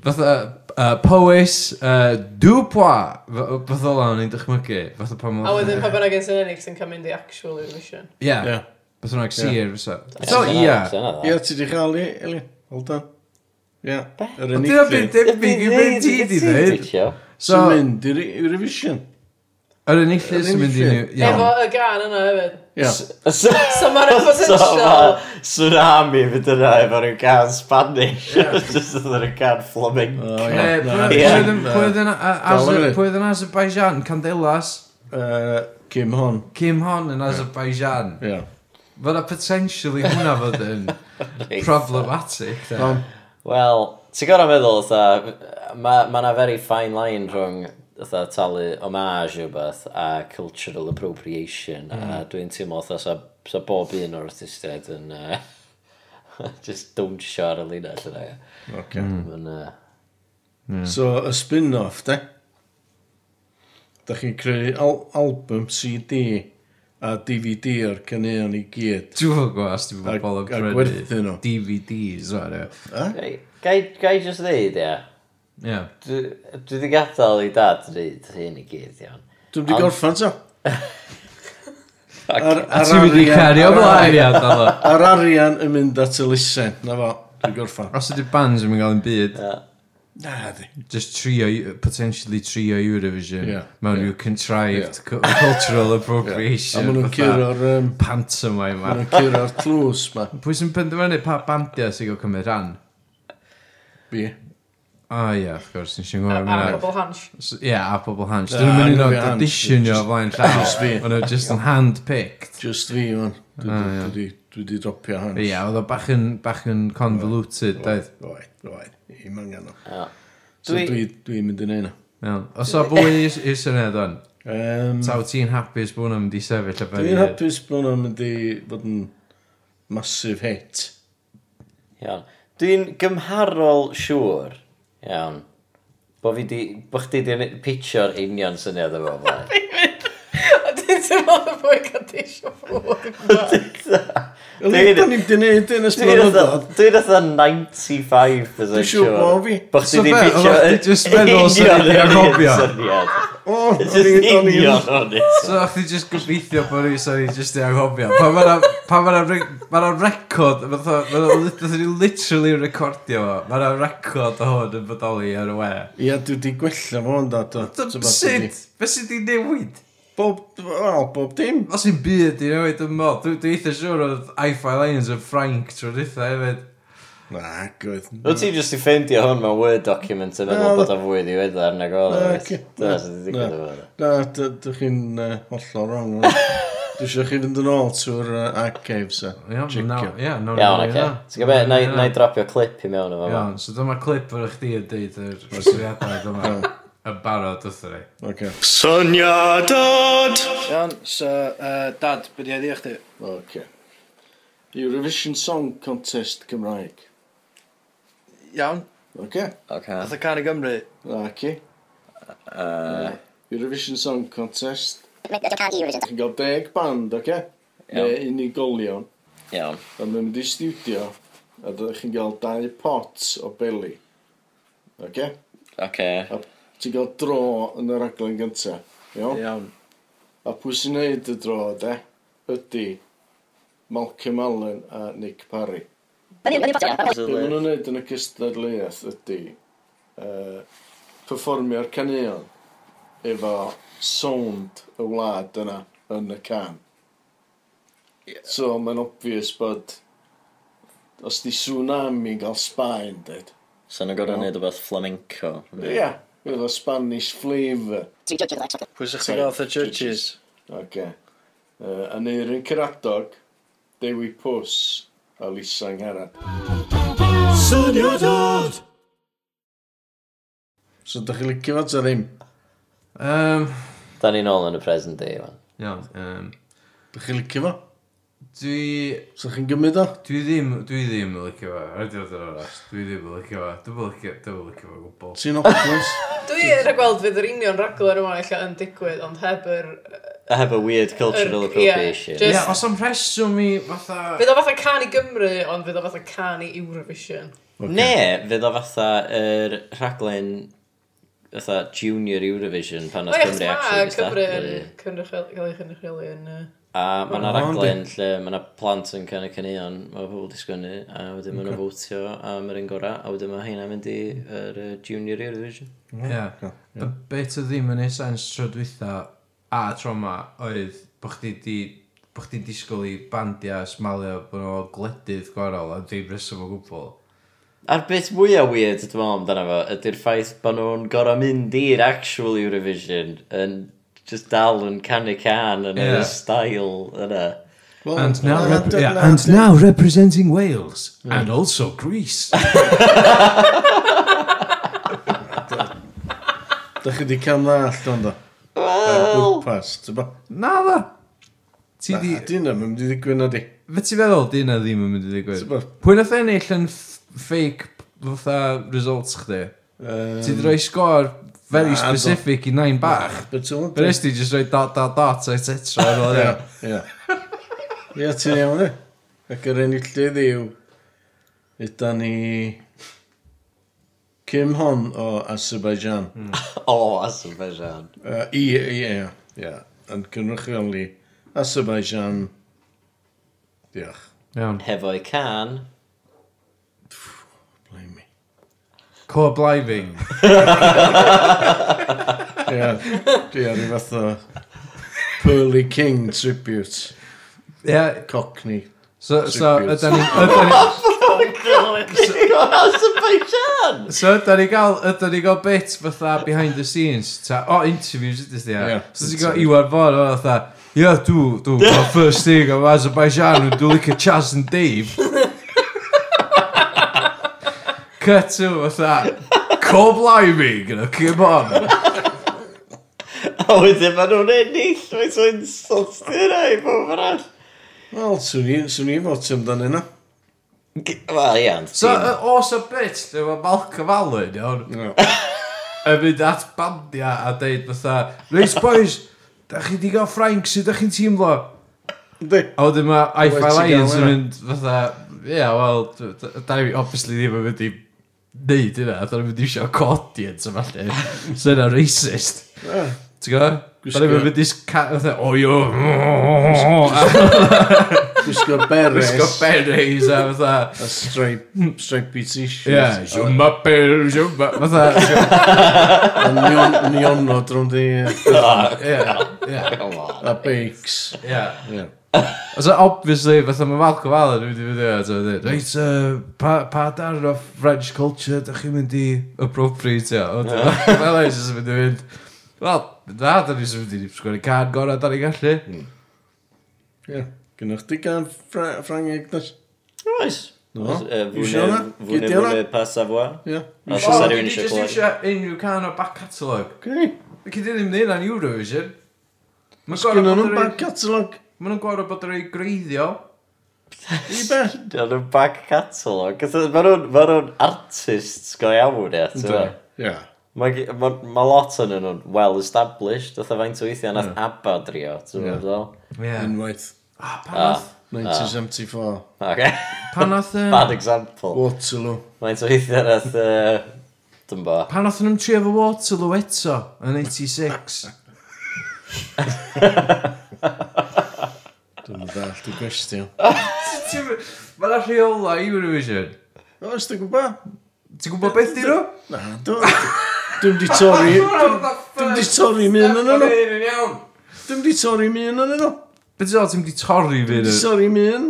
Speaker 2: Fatha uh, Powys uh, Dwpoa. Beth o lawn i'n dychmygu. Fatha pan
Speaker 1: A
Speaker 2: oedd...
Speaker 1: wedyn pa bynnag yn sy'n ennill sy'n cymryd i actual Eurovision.
Speaker 2: Ie.
Speaker 4: Ie.
Speaker 2: Beth o'n sir, fysa. So,
Speaker 3: Ie,
Speaker 2: ie.
Speaker 3: dyna-
Speaker 4: Ie,
Speaker 3: dyna dda.
Speaker 4: ti di chael i, Eli? Hold on. Ie. Yr
Speaker 2: Ond dyna
Speaker 4: unig
Speaker 2: byd
Speaker 4: lli.
Speaker 2: debyg i beth ti di ddweud.
Speaker 3: Teithio.
Speaker 2: So,
Speaker 4: Sy'n mynd i'r Eurovision.
Speaker 2: yr enillu sy'n mynd i ni...
Speaker 1: Efo
Speaker 2: Iawn.
Speaker 1: y gan yna hefyd.
Speaker 4: Ie.
Speaker 3: So,
Speaker 1: So mae'r
Speaker 3: so
Speaker 1: potential.
Speaker 3: ma' tsunami fydd yna efo'r un can Spanish. Just oedd yn can flamenco.
Speaker 4: O,
Speaker 2: Eh,
Speaker 4: ie.
Speaker 2: pwy- pwy
Speaker 3: Ie.
Speaker 2: oedd yn- pwy oedd yn- a-
Speaker 4: Dal ar
Speaker 2: Azer-
Speaker 4: hynny.
Speaker 2: Pwy oedd yn Azerbaijan? Candelas.
Speaker 4: Yy, Kim Hon.
Speaker 2: Kim Hon yn Azerbaijan.
Speaker 4: Ie.
Speaker 2: Mae yna potentially hwnna fod yn problematic. de.
Speaker 4: Hon.
Speaker 3: Wel, ti'n gorau meddwl, otha, ma, ma na very fine line rhwng otha, talu homage o beth a cultural appropriation mm. a dwi'n teimlo otha sa, sa bob un o'r artistiaid yn uh, just dawnsio ar y linell yna.
Speaker 4: Oce.
Speaker 2: Mm.
Speaker 3: Yn, uh,
Speaker 4: So, y spin-off, de? Da chi'n creu al album CD a DVD o'r caneuon i gyd.
Speaker 2: Dwi'n fawr gwas, dwi'n fawr
Speaker 4: A-
Speaker 2: bol yn
Speaker 4: a
Speaker 2: prynu
Speaker 4: gwerthu nhw.
Speaker 2: DVDs. fan hyn.
Speaker 3: gai, gai, gai just ddeud, ia,
Speaker 2: Ie.
Speaker 3: dwi dwi 'di gadael i dad ddeud hyn i gyd, iawn.
Speaker 4: Dwi'n di gorffan to. Ar-
Speaker 2: A
Speaker 4: ar
Speaker 2: ti'n mynd i
Speaker 4: arian-
Speaker 2: cario
Speaker 4: ar-
Speaker 2: blaen i adael o.
Speaker 4: Ar arian yn mynd at y lusen. Na fo, dwi'n gorffan.
Speaker 2: Os ydy'r bands yn mynd gael yn byd,
Speaker 4: Na, di.
Speaker 2: just trio, potentially trio Eurovision
Speaker 4: Ie.
Speaker 2: mewn rhyw contrived cu- cultural
Speaker 4: A
Speaker 2: appropriation.
Speaker 4: maen nhw'n
Speaker 2: fatha
Speaker 4: curo'r... yym,
Speaker 2: Pantomime
Speaker 4: Maen
Speaker 2: ma.
Speaker 4: nhw'n curo'r tlws ma.
Speaker 2: Pwy sy'n penderfynu pa bandiau sy'n gael cymryd rhan?
Speaker 4: Bi.
Speaker 2: O ie, wrth gwrs, nes i'n gwybod.
Speaker 1: Ar pobl hans.
Speaker 2: S- Ie, a pobl hans.
Speaker 4: Na,
Speaker 2: Dyn nhw'n mynd
Speaker 4: nhw
Speaker 2: i'n
Speaker 4: fi hans.
Speaker 2: auditionio o flaen llaw.
Speaker 4: Just fi.
Speaker 2: Ond nhw'n just yn hand-picked.
Speaker 4: Just fi, man. Dwi wedi dropio
Speaker 2: Ah, Ie,
Speaker 4: hwn.
Speaker 2: yeah, oedd o bach yn, bach yn convoluted, daeth.
Speaker 4: Oed, oed. I mangan o.
Speaker 3: Ia.
Speaker 4: So
Speaker 3: Dwi-
Speaker 4: dwi- dwi'n mynd yn un o.
Speaker 2: Iawn. Os o bwy i'r i'r syniad o'n,
Speaker 4: Yym,
Speaker 2: ta wyt ti'n hapus bod nhw'n mynd i sefyll y
Speaker 4: Dwi'n
Speaker 2: fyny?
Speaker 4: hapus bod nhw'n mynd i fod yn massive hit.
Speaker 3: Iawn. Dwi'n gymharol siŵr, iawn, bo fi di, bo chdi di pitio'r union syniad efo fo.
Speaker 1: A dwi'n teimlo y bwy cadisio ffwrdd.
Speaker 4: Yli, da ni'n dyneud yn
Speaker 3: Dwi'n
Speaker 4: ysbryd o
Speaker 3: fatha- Dwi'n fatha 95%
Speaker 4: Dwi'n siŵr bo' fi.
Speaker 3: Bo chdi
Speaker 2: So
Speaker 3: di
Speaker 2: be,
Speaker 3: pitio
Speaker 2: oeddach chdi jyst meddwl os o'n i'n anghofio?
Speaker 3: syniad.
Speaker 4: O, o'n
Speaker 3: Just
Speaker 4: i- o'n i-
Speaker 3: union o'n i.
Speaker 2: So o'ch ti jyst gobeithio bod ni, sorry, jyst i anghofio. Pa ma' 'na- pa ma' 'na re- ma' 'na record, fatha- ma' 'na lit- nathon ni literally recordio fo. Ma' 'na record o hwn yn bodoli ar y we.
Speaker 4: Ia, dwi wedi gwella fo ond ato.
Speaker 2: So Sut? Be sydd wedi newid?
Speaker 4: Bob, wel, bob dim.
Speaker 2: Os i'n byd i newid yn mod, dwi dwi eitha siŵr oedd Ify Lions yn Frank tro dwytha hefyd.
Speaker 4: Na, gwyth.
Speaker 3: Wyt ti jyst i ffeindio hwn mewn Word document yn
Speaker 4: Na,
Speaker 3: meddwl bod o'n fwy ddiweddar nag oedd.
Speaker 4: Na,
Speaker 3: oes?
Speaker 4: ci-
Speaker 3: Dyna
Speaker 4: na,
Speaker 3: sy'n digwydd efo hwnna.
Speaker 4: Na, dych chi'n yy, hollol wrong. ond Dwi eisiau chi fynd yn ôl trwy'r yy, archives a
Speaker 2: Iawn, naw-
Speaker 4: checio.
Speaker 2: ie, nawn ni
Speaker 3: Iawn,
Speaker 2: wneud
Speaker 3: oce.
Speaker 2: hynna.
Speaker 3: Ti'n gwybod,
Speaker 2: Nawn ni
Speaker 3: na
Speaker 2: wneud
Speaker 3: na i
Speaker 2: hynna.
Speaker 3: dropio clip i mewn efo fo.
Speaker 2: Iawn, so dyma clip o'r chdi yn deud yr syniadau dyma yn barod wrthyn ni.
Speaker 4: Oce.
Speaker 5: Iawn, so, uh, dad, beth i edrych chdi?
Speaker 4: Oce. Eurovision Song Contest Cymraeg.
Speaker 5: Iawn,
Speaker 4: Oce.
Speaker 3: Oce.
Speaker 5: fatha can i Gymru.
Speaker 4: Oce. Eurovision Song Contest.
Speaker 6: Met elkaar Eurovision.
Speaker 4: Chi'n cael deg band, oce? Neu unigolion.
Speaker 3: Iawn.
Speaker 4: A mae'n mynd i studio a dydych chi'n cael dau pot o beli. Oce?
Speaker 3: Oce.
Speaker 4: A ti'n cael dro yn yr aglen gynta. Iawn?
Speaker 5: Iawn.
Speaker 4: A pwy sy'n neud y dro, de? Ydy Malcolm Allen a Nick Parry.
Speaker 6: Wanneer wanneer pas
Speaker 4: Be maen nhw'n neud yn y cystadleuaeth ydy uh, performio'r caneuon efo sound y wlad yna yn y can. So mae'n obvious bod os di tsunami yn cael Sbaen, dweud,
Speaker 3: So nhw'n gorau gwneud rhywbeth flamenco.
Speaker 4: Ia, fydd o Spanish flavour.
Speaker 6: To be judged on that, exactly.
Speaker 5: Pwy sy'ch ti'n gael the judges?
Speaker 4: Oce. Yy, A neu'r un cyradog, Dewi Pws, a Lisa Ngharad.
Speaker 7: Syniadad!
Speaker 4: So, da chi licio fod ar ddim?
Speaker 2: Um,
Speaker 3: Da ni'n ôl yn y present day, fan.
Speaker 2: iawn. Um,
Speaker 4: Da chi licio fo?
Speaker 2: dwi...
Speaker 4: So, chi'n gymryd o?
Speaker 2: Dwi ddim, dwi ddim yn licio fo, ar y diwedd yr arall, dwi ddim yn licio fo, dwi'n licio, dwi'n licio fo gwbl.
Speaker 4: Ti'n opnus?
Speaker 1: Dwi yn y gweld fydd yr union raglen yma eich yn digwydd, ond heb yr...
Speaker 3: I have a weird cultural
Speaker 1: Yr-
Speaker 3: appropriation.
Speaker 1: ie,
Speaker 2: Ie,
Speaker 1: jyst-
Speaker 2: yeah, os am rheswm i fatha...
Speaker 1: Fydd o fatha can i Gymru, ond fydd o fatha can i Eurovision.
Speaker 3: Ne, fydd o fatha yr rhaglen fatha Junior Eurovision pan
Speaker 1: O
Speaker 3: oedd
Speaker 1: ie,
Speaker 3: Cymru
Speaker 1: mae
Speaker 3: actually
Speaker 1: Cymru yn
Speaker 3: gystadlu.
Speaker 1: cynrychiol- cael ei chynrychioli yn... yy,
Speaker 3: A mae yna
Speaker 4: O,
Speaker 3: raglen lle mae yna plant yn canu caneuon, mae pobl wedi sgwennu, a wedyn maen nhw'n fwtio am yr un gorau, a wedyn mae heina mynd i yr yy, Junior Eurovision.
Speaker 2: Ie. Y bit o ddim yn ei sens tro dwytha a tro ma oedd bo chdi di bo chdi'n disgwyl i bandiau smalio bod nhw o gledydd gwarol a ddim rheswm o gwbl.
Speaker 3: A'r bit mwyaf weird dwi'n meddwl amdano fo, ydy'r ffaith bod nhw'n gorau mynd i'r actual Eurovision yn just dal yn canu can yn
Speaker 2: Ie.
Speaker 3: y style yna.
Speaker 2: And now, rep- yeah, and now representing Wales and also Greece.
Speaker 4: Da chi di cam na allan da? Ar bwrpas, ti'n bo?
Speaker 2: Na dda. Ti
Speaker 4: Di...
Speaker 2: di...
Speaker 4: Di na, mae'n mynd i ddigwyn o di.
Speaker 2: Fe ti feddwl di yna ddim yn mynd i digwydd?
Speaker 4: T'bo-
Speaker 2: Pwy nath ennill yn f- fake fatha results chdi? Ti di rhoi sgôr very
Speaker 4: Na, do.
Speaker 2: specific i nain bach.
Speaker 4: Beth ti'n mynd?
Speaker 2: Fe nes ti just rhoi dot dot dot a tetra ar ôl hynna.
Speaker 4: Ia. Ia, ti'n iawn e? Ac yr enillydd yw... Yda ni... Kim Hon o Azerbaijan.
Speaker 3: O, Azerbaijan.
Speaker 4: Yy, I, ie, ie, ie. Yn cynrychiol i Azerbaijan. Diolch.
Speaker 2: Iawn.
Speaker 3: Hefo'i can.
Speaker 4: Blame me.
Speaker 2: Co blifing.
Speaker 4: Ia, di ar i fath o... Pearly King tribute.
Speaker 2: Ie,
Speaker 4: Cockney.
Speaker 2: so, so,
Speaker 4: Tribute.
Speaker 2: ydan ni, ydan ni,
Speaker 3: O, Azerbaijan!
Speaker 2: so ydan ni gael, ydan ni gael bit fatha behind the scenes, ta, o, interviews ydych chi,
Speaker 4: Ie,
Speaker 2: ia. So ti'n gael
Speaker 4: interview.
Speaker 2: Iwan Fon, o, fatha, ia, dw, dw, my first thing am Azerbaijan, dwi'n dwi'n licio Chaz and Dave. Cut to, fatha, co blifing, you know, come on.
Speaker 3: A wedyn maen nhw'n ennill, mae'n so insult i'n ei bob arall.
Speaker 4: Wel, swn i, swn i fod amdan yna.
Speaker 3: G- Wel, iawn.
Speaker 2: So,
Speaker 3: So,
Speaker 2: uh, os y bit, lle mae Malcolm Allen, iawn,
Speaker 4: No.
Speaker 2: yn mynd at bandia a deud fatha, Reis boys, da chi di gael Frank, sut da chi'n teimlo?
Speaker 4: Di.
Speaker 2: A wedyn mae
Speaker 4: Wyt
Speaker 2: I5
Speaker 4: ti gael
Speaker 2: Lions yn
Speaker 4: hwnna?
Speaker 2: mynd fatha, ie, yeah, wel, d- d- da ni obviously ddim yn mynd i neud hynna, da ni'n mynd i eisiau audience a falle, so yna racist. Ti'n gwybod? Da ni'n mynd i s- ca- fatha, "Oh, o yo, a
Speaker 4: Gwisgo beres.
Speaker 2: gwisgo berets a fatha,
Speaker 4: A stripe, stripey t-shirt.
Speaker 2: ie, siwma per, siwma, fatha,
Speaker 4: A nion- nionod rhwng di
Speaker 2: ie, ie,
Speaker 4: a bakes.
Speaker 2: ie.
Speaker 4: Ie.
Speaker 2: So, obviously, fatha mae Malcolm Allen e yn mynd i fynd i fynd i fynd. Reit, uh, pa, pa darn o French culture dych chi'n mynd i appropriate o? Fel eis yn mynd i fynd. Wel, na, da ni'n mynd i sgwennu can gorau da ni'n gallu.
Speaker 4: Ie. Gynnwch di gan Fra- Frank Ignas?
Speaker 3: Oes.
Speaker 4: No.
Speaker 3: Oes, yy,
Speaker 4: You sure na?
Speaker 3: Fwne
Speaker 4: Gei di hwnna?
Speaker 3: fwne pa safwa.
Speaker 4: Ie.
Speaker 2: O,
Speaker 3: A sy'n
Speaker 2: dwi
Speaker 3: rhywun
Speaker 2: jyst
Speaker 3: eisiau clywed.
Speaker 2: eisiau unrhyw can o back catalog.
Speaker 4: Gei.
Speaker 2: Cyd i ddim neud yn Eurovision. Mae'n gorau
Speaker 4: Gynnwch
Speaker 2: bod
Speaker 4: nhw'n
Speaker 2: yr
Speaker 4: bank
Speaker 2: un-
Speaker 4: catalog.
Speaker 2: ma' nhw'n gorau bod yr ei greiddiol.
Speaker 4: I be?
Speaker 3: Dyn nhw'n back catalog. Mae nhw'n artists go iawn, ia. ti'n gwbod?
Speaker 4: Ie.
Speaker 3: Mae gi- ma, ma lot yn nhw'n well established, oedd faint o weithiau nath ABBA drio, ti'n
Speaker 4: Ie.
Speaker 3: fawr ddol?
Speaker 2: Ie.
Speaker 4: Unwaith.
Speaker 2: Ah, Pan nath-
Speaker 4: 1974.
Speaker 3: Ok,
Speaker 2: pan nath... yym,
Speaker 3: bad example.
Speaker 4: Waterloo.
Speaker 3: Faint o weithiau nath, yy, dyn bo.
Speaker 2: Pan nath nhw'n trio fo Waterloo eto yn 86.
Speaker 4: Dwi'n ddall di gwestiwn.
Speaker 2: Mae'n rheola Eurovision.
Speaker 4: O, ys dwi'n gwybod?
Speaker 2: Ti'n gwybod beth di nhw?
Speaker 4: Na, dwi'n... Dwi'n di torri... Dwi'n di torri mi yn yn nhw.
Speaker 2: iawn.
Speaker 4: Dwi'n di torri mi yn yn nhw.
Speaker 2: Beth ti'n ti'n di torri fi
Speaker 4: Dwi'n di
Speaker 2: nhw?
Speaker 4: torri mi yn...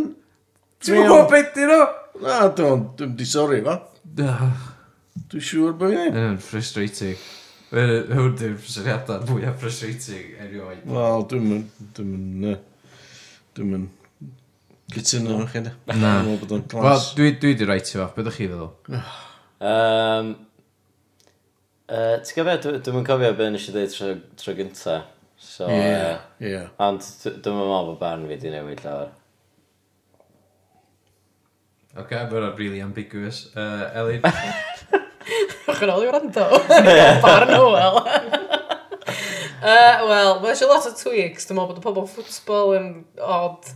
Speaker 2: Ti'n gwybod beth di nhw?
Speaker 4: Na, dwi'n... Dwi'n di torri, fa?
Speaker 2: Ah,
Speaker 4: Dwi'n siŵr bod fi ddim.
Speaker 2: Yn yn frustrating. Yy, Hwn di'r syniadau fwyaf frustrating erioed.
Speaker 4: Wel, dwi'n mynd... Dwi'n mynd... Dwi'n mynd... Cytuno nhw chi, de.
Speaker 2: Na.
Speaker 4: Dwi'n meddwl bod o'n
Speaker 2: Wel,
Speaker 4: glas.
Speaker 2: dwi, dwi di rhaid ti fo, beth ydych chi feddwl?
Speaker 3: Um, uh, Ti'n gofio, dwi'n mynd cofio beth nes i dweud tro, tro gynta. So,
Speaker 4: Ie,
Speaker 3: yeah.
Speaker 4: ie.
Speaker 3: uh, ond dwi'n meddwl bod barn fi di newid llawer.
Speaker 2: Oce, okay, mae'n really ambiguous. Uh, Elin,
Speaker 1: Bach yn ôl i wrando. Barn Howell. Uh, Wel, mae eisiau lot o tweaks. Dwi'n meddwl bod y pobl ffwtsbol yn odd.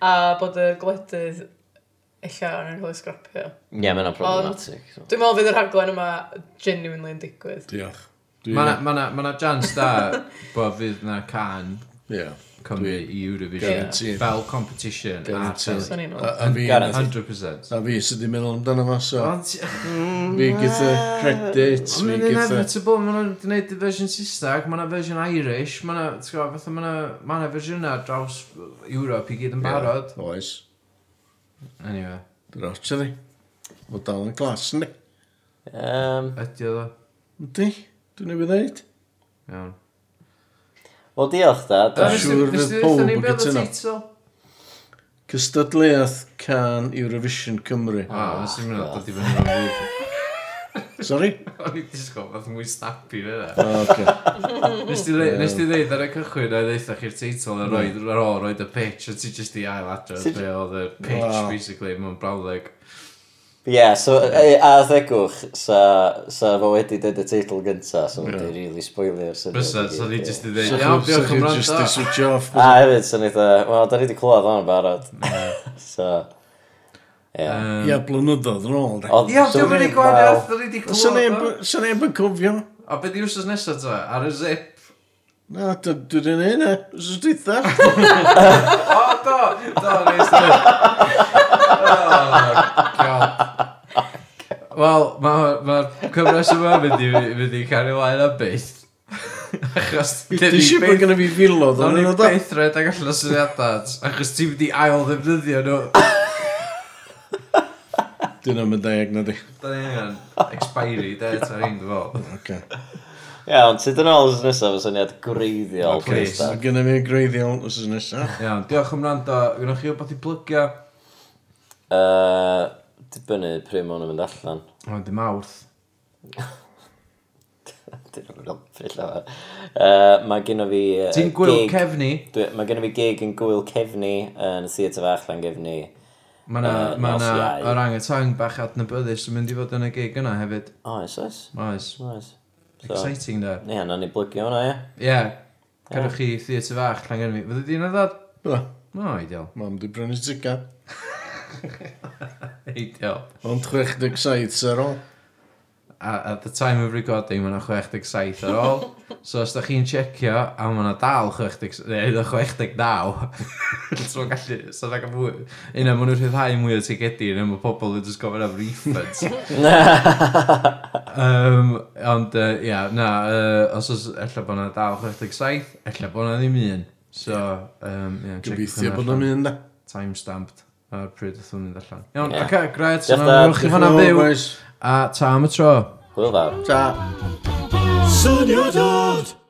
Speaker 1: a bod y gwledydd eich yn cael ei sgrapio.
Speaker 3: Ie, yeah, mae'n problematic. so.
Speaker 1: Dwi'n meddwl fydd y rhaglen yma genuinely yn digwydd.
Speaker 4: Diolch.
Speaker 2: mae'na ma 'na- ma 'na chance da bod fydd na can
Speaker 4: Ie.
Speaker 2: Cymru i Eurovision.
Speaker 4: Guaranteed.
Speaker 2: Fel competition. a
Speaker 4: Guaranteed.
Speaker 2: fel-
Speaker 1: Swn i'n
Speaker 4: A
Speaker 1: meddwl.
Speaker 4: a fi...
Speaker 3: Guaranteed.
Speaker 2: 100%.
Speaker 4: A fi sydd wedi meddwl amdano fo, so...
Speaker 2: Ond ti-
Speaker 4: Fi gyda credits, fi
Speaker 2: Mae'n
Speaker 4: gyda...
Speaker 2: inevitable, mae nhw'n gwneud y fersiwn Saesneg, mae yna fersiwn Irish, mae yna, ti'n gwybod, fatha mae yna, mae yna fersiwnau draws Europe i gyd yn barod.
Speaker 4: Oes.
Speaker 2: Anyway,
Speaker 4: Dwi'n rotio di. O dal yn glas, ynddi?
Speaker 3: Um,
Speaker 2: ydi o ddo.
Speaker 4: Ynddi? Dwi'n ei wneud?
Speaker 2: Iawn.
Speaker 3: Wel, diolch da. da.
Speaker 4: Dwi'n siŵr fydd powb yn cytuno. Cystadleuaeth can Eurovision Cymru.
Speaker 2: O, nes i'n mynd o dod i fyny o'r fyd.
Speaker 4: Sorry?
Speaker 2: O'n i'n disgo, fath mwy snappy fe
Speaker 4: O,
Speaker 2: da.
Speaker 4: oce.
Speaker 2: Nes ti ddeud- nes ti ddeud ar y cychwyn a ddeitha chi'r teitl a roed, ar ôl roed y pitch, a ti jyst i ail adro,
Speaker 3: Ti-
Speaker 2: be oedd y pitch,
Speaker 4: Wow.
Speaker 2: basically, mewn brawleg.
Speaker 3: Ie, yeah, so, e, a ddegwch, sa, sa fo wedi dweud y teitl gynta, so mae'n yeah. really spoilio'r syniad.
Speaker 2: Bysa,
Speaker 3: i gyd,
Speaker 2: so ni
Speaker 3: ie.
Speaker 2: jyst i
Speaker 4: So
Speaker 2: ddeud, iawn,
Speaker 4: chi- so
Speaker 2: diolch
Speaker 4: chi
Speaker 2: am
Speaker 4: jyst i
Speaker 2: rando.
Speaker 4: switch off.
Speaker 3: A hefyd, so ni dda, wel, da ni wedi clywed o'n barod. so, ie.
Speaker 2: Yym,
Speaker 4: Ia, blynyddoedd yn ôl, de.
Speaker 3: Ond
Speaker 2: Ia,
Speaker 3: so
Speaker 2: diolch yn ei
Speaker 3: ni'n
Speaker 2: gwario,
Speaker 3: gweld-
Speaker 2: oedd wedi
Speaker 4: Os yna
Speaker 2: clywed. o.
Speaker 4: neb yn cofio?
Speaker 2: A beth i wsos nesaf ta? Ar y zip?
Speaker 4: Na, d- dwi wedi'n ei na. Os ydw i dda?
Speaker 2: O, do! Do, nes di. O, God. Oh, Wel, mae'r ma ma'r cyfres yma mynd i, mynd i cario lain am byth. Achos
Speaker 4: Dwi eisiau bod
Speaker 2: byth...
Speaker 4: gen i fi filodd
Speaker 2: Do'n
Speaker 4: o'n
Speaker 2: i'n
Speaker 4: yno da.
Speaker 2: byth redeg allan o syniadau, achos ti'n mynd i ail ddefnyddio nhw.
Speaker 4: Dwi'n am y deg na di.
Speaker 2: Do'n i'n angen expiry date ar un, dwi'n fawr.
Speaker 4: Oce.
Speaker 3: Ie, ond sydd yn ôl ys nesaf y syniad gwreiddiol.
Speaker 2: Oh, please.
Speaker 3: Chris, da.
Speaker 4: Mae gen i fi greiddiol os ydw nesaf.
Speaker 2: Iawn, diolch am rando. Gwneud chi wbeth i blygio?
Speaker 3: Yy, dibynnu pryd ma'n mynd allan.
Speaker 2: O, dim mawrth.
Speaker 3: Dyn nhw'n helpu llawer. Yy, Mae gen i fi... yy,
Speaker 2: Ti'n gwyl
Speaker 3: gig-
Speaker 2: cefni?
Speaker 3: Dwi- Mae gen i fi gig yn gwyl cefni yn y theatr fach lan gefni.
Speaker 2: Mae na,
Speaker 3: Yy,
Speaker 2: ma na
Speaker 3: nos Iau.
Speaker 2: yr angetang bach adnabyddus yn mynd i fod yn y gig yna hefyd.
Speaker 3: Oes, oes.
Speaker 2: Oes.
Speaker 3: Oes. So, Ie,
Speaker 2: Exciting da.
Speaker 3: na ni blygio hwnna, ie.
Speaker 2: Ie. Yeah. Cerwch chi theatr fach llan gyrmi. Fydde di'n ddod?
Speaker 4: Bydda,
Speaker 2: No, ideal.
Speaker 4: mam di brynu tigad.
Speaker 2: Ideal.
Speaker 4: Ond 67 sy'n ôl.
Speaker 2: A- At the time of recording, mae na 67 ar ôl. So, os da chi'n checio, a mae na dal 60... Neu, 69. so, gallu... So, da gael fwy... Una, mae nhw'n rhyddhau mwy o tigedi, neu mae pobl yn just gofyn am refunds. um, ond, yy, ia, uh, na, uh, os oes, ella bod na dal 67, ella bod na ddim un. So, um, ia,
Speaker 4: Gobeithio bod o'n mynd da.
Speaker 2: Timestamped ar pryd oedd hwn yn allan. Iawn,
Speaker 3: Ie.
Speaker 2: yeah. oce, gret,
Speaker 3: Diolch,
Speaker 2: so
Speaker 3: Dad.
Speaker 2: nawr chi fanna byw, a ta am y tro.
Speaker 3: Hwyl fawr.
Speaker 4: Ta.
Speaker 7: Syniadad!